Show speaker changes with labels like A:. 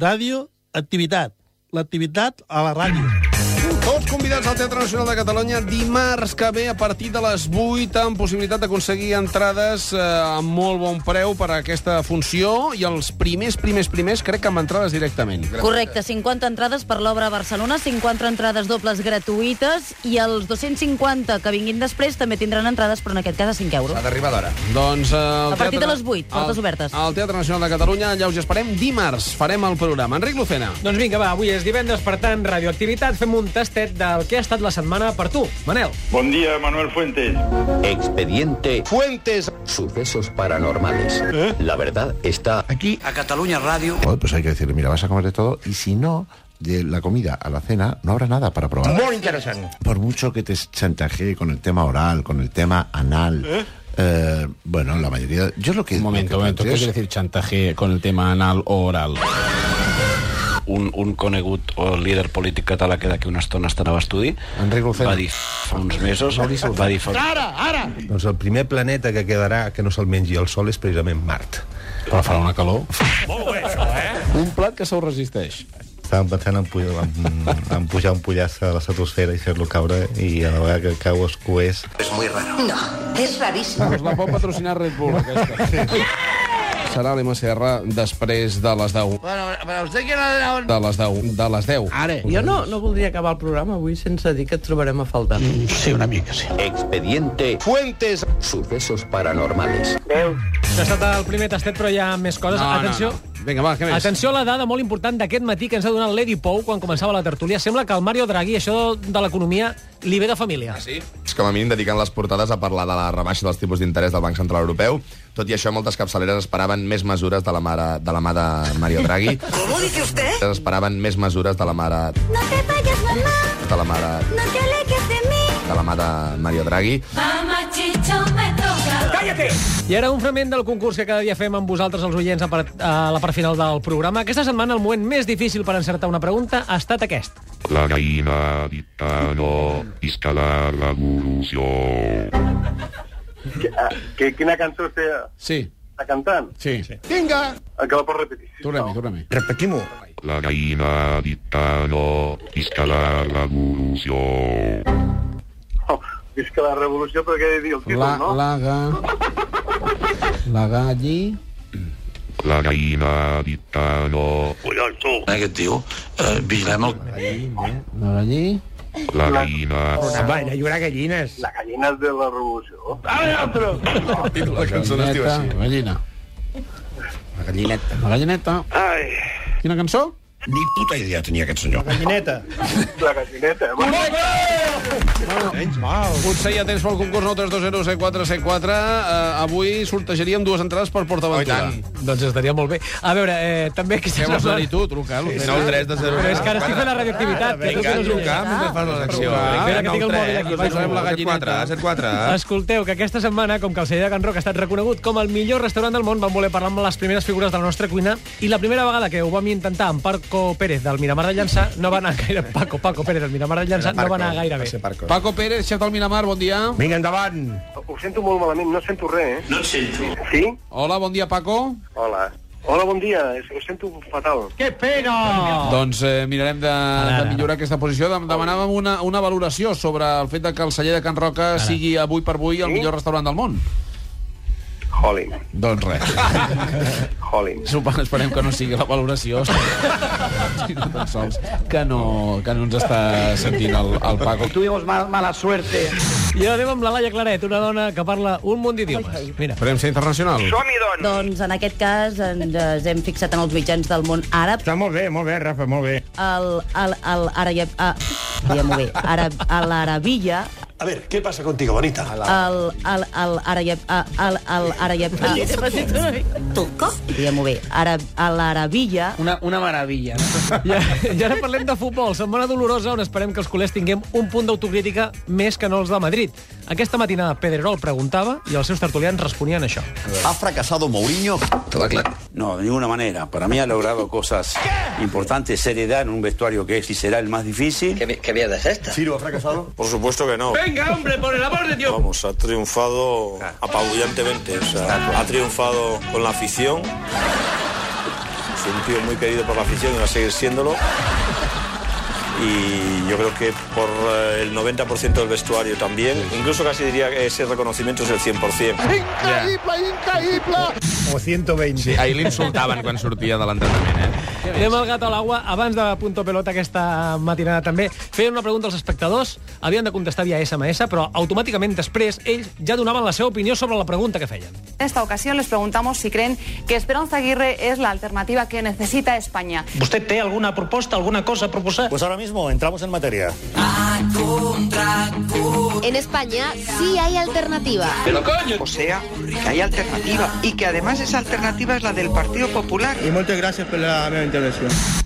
A: ràdio, activitat. L'activitat a la ràdio.
B: Tots convidats al Teatre Nacional de Catalunya dimarts que ve a partir de les 8 amb possibilitat d'aconseguir entrades eh, amb molt bon preu per a aquesta funció i els primers, primers, primers crec que amb entrades directament.
C: Correcte, 50 entrades per l'obra a Barcelona, 50 entrades dobles gratuïtes i els 250 que vinguin després també tindran entrades, però en aquest cas a 5 euros.
D: Ha d'arribar d'hora.
B: Doncs, eh, el
C: A partir de les vuit, portes
B: al-
C: obertes.
B: Al Teatre Nacional de Catalunya, allà us hi esperem dimarts. Farem el programa. Enric Lucena.
E: Doncs vinga, va, avui és divendres, per tant, radioactivitat, fem un tastet del que ha estat la setmana per tu. Manel.
F: Buen día, Manuel Fuentes.
G: Expediente
B: Fuentes.
G: Sucesos Paranormales.
H: ¿Eh?
G: La verdad está
H: Aquí, a Cataluña Radio.
I: Joder, pues hay que decirle, mira, vas a comer de todo y si no, de la comida a la cena no habrá nada para probar.
H: Muy interesante.
I: Por mucho que te chantajee con el tema oral, con el tema anal, eh, bueno, la mayoría... Yo lo que...
J: Un
I: lo
J: momento, un
I: que
J: momento. ¿Qué
I: planteo es-
J: quiere decir chantaje con el tema anal o oral?
K: un, un conegut o líder polític català que d'aquí una estona estarà a l'estudi
I: Enric Lucena.
K: va dir fa uns mesos va dir fa...
H: Doncs el primer planeta que quedarà que no se'l mengi el Sol és precisament Mart.
J: Però farà una calor.
H: eh?
I: Un plat que se'l resisteix.
H: Estàvem pensant en, pujar, en, en pujar un pollàs a la satosfera i fer-lo caure, i a la vegada que cau es coés...
B: Us la pot patrocinar Red Bull, aquesta. Sí. Serà l'MCR després de les 10.
D: Bueno, pero usted quiere la...
B: De les 10. De les 10.
D: Ara. Jo no, no voldria acabar el programa avui sense dir que et trobarem a faltar.
H: Sí, una mica, sí.
G: Expediente
B: Fuentes.
G: Sucesos Paranormales.
E: No ha estat el primer tastet, però hi ha més coses. Atenció.
B: No. Vinga, va, què més?
E: Atenció a la dada molt important d'aquest matí que ens ha donat l'Edi Pou quan començava la tertúlia. Sembla que al Mario Draghi això de l'economia li ve de família. Ah, sí?
L: És com a mínim dedicant les portades a parlar de la rebaixa dels tipus d'interès del Banc Central Europeu. Tot i això, moltes capçaleres esperaven més mesures de la, mare, de la mà de Mario Draghi.
H: ¿Cómo dice usted?
L: esperaven més mesures de la mare...
C: No te vayas, mamá,
L: de la mare...
C: no te alejes de mí.
L: de la mà de Mario Draghi.
E: I ara un fragment del concurs que cada dia fem amb vosaltres, els oients, a, part, a la part final del programa. Aquesta setmana el moment més difícil per encertar una pregunta ha estat aquest.
F: La gallina no inscalar la evolución.
K: ah, Quina cançó està,
J: Sí,
K: està cantant?
J: sí. sí.
K: Que la pots repetir.
J: Tornem-hi, tornem-hi.
H: Repetim-ho.
F: La gallina no inscalar la evolución.
K: No, Oh, és que la revolució, però què he de dir? El
J: la ga... La galli...
F: La gallina no.
H: En aquest tio, eh, vigilem el...
J: La galli...
F: La gallina.
H: Va, hi haurà gallines.
K: La gallina de la revolució.
L: La cançó no es diu
J: Gallineta,
L: així.
J: gallina. La gallineta. Ai. Quina cançó?
H: Ni puta idea tenia aquest senyor. Gallineta.
K: La gallineta.
B: Potser hi ha temps pel concurs 932017474. Uh, avui sortejaríem dues entrades per PortAventura.
L: Oh, i
E: Doncs estaria molt bé. A veure, eh, també aquesta
B: Què vols
E: setmana-
B: venir tu? Ah, Truca, Lucena.
L: 9 3 de 0.
E: Però és que ara estic fent la radioactivitat. que
L: Vinga,
E: tu tens
L: truca,
E: oients.
L: mentre fas la secció.
E: Espera que tinc el mòbil aquí, vaig.
L: Posarem la gallineta. 04,
H: Ah.
E: Escolteu, que aquesta setmana, com que el celler de Can Roc ha estat reconegut com el millor restaurant del món, vam voler parlar amb les primeres figures de la nostra cuina i la primera vegada que ho vam intentar amb Paco Pérez del Miramar de Llançà no va anar gaire... Paco, Paco Pérez del Miramar de Llançà no va anar gaire bé.
B: Paco Pérez, xef del Miramar, bon dia.
H: Vinga, endavant.
K: Ho sento molt malament, no sento res, eh? No et sento. Sí?
B: Hola, bon dia, Paco.
K: Hola. Hola, bon dia. Ho sento fatal.
E: Que pena!
B: Doncs eh, mirarem de, de millorar aquesta posició. Dem demanàvem una, una valoració sobre el fet de que el celler de Can Roca sigui avui per avui el millor restaurant del món.
K: Jolín,
B: Doncs res.
K: jolín.
B: Supa- Esperem que no sigui la valoració. sinó tan sols que no, que no ens està sentint el, el Paco.
H: Tuvimos mal, mala suerte.
E: I ara anem amb la Laia Claret, una dona que parla un munt d'idiomes. Mira.
B: Farem ser internacional.
C: Doncs en aquest cas ens, ens hem fixat en els mitjans del món àrab.
H: Està molt bé, molt bé, Rafa, molt bé.
C: El, el, el, ara ja, ah, diguem-ho bé, ara, a l'Arabilla,
H: A ver, ¿qué pasa contigo, bonita?
C: el, el, el, ara ja, ah, el, el, ara ja, ah, diguem-ho bé, ara, a l'Arabilla,
D: Una, una meravella.
E: I, ara- I ara parlem de futbol. Setmana dolorosa on esperem que els culers tinguem un punt d'autocrítica més que no els de Madrid. Aquesta matinada Pedrerol preguntava i els seus tertulians responien això.
G: ¿Ha fracasado Mourinho?
H: No, de ninguna manera. Para mí ha logrado cosas importantes, seriedad en un vestuario que es y será el más difícil.
D: ¿Qué, qué mierda es esta?
H: ¿Ciro ha fracasado?
K: Por supuesto que no.
D: Venga, hombre, por el amor de Dios.
K: Vamos, ha triunfado apabullantemente. O sea, ha triunfado con la afición.
M: un tío muy querido por la afición y va a seguir siéndolo. Y yo creo que por eh, el 90% del vestuario también. Incluso casi diría que ese reconocimiento es el 100%.
N: Increïble, increïble!
O: O 120. Sí, ahir l'insultaven quan sortia de l'entrenament, eh?
E: Anem al gat a l'aigua. Abans de Punto Pelota aquesta matinada també, feien una pregunta als espectadors, havien de contestar via SMS, però automàticament després ells ja donaven la seva opinió sobre la pregunta que feien.
P: En esta ocasión les preguntamos si creen que Esperanza Aguirre es la alternativa que necesita España.
H: ¿Usted tiene alguna propuesta, alguna cosa a proposar? Pues ahora mismo entramos en materia.
C: En España sí hay alternativa.
Q: O sea, que hay alternativa. Y que además esa alternativa es la del Partido Popular.
A: Y muchas gracias por la meva intervenció.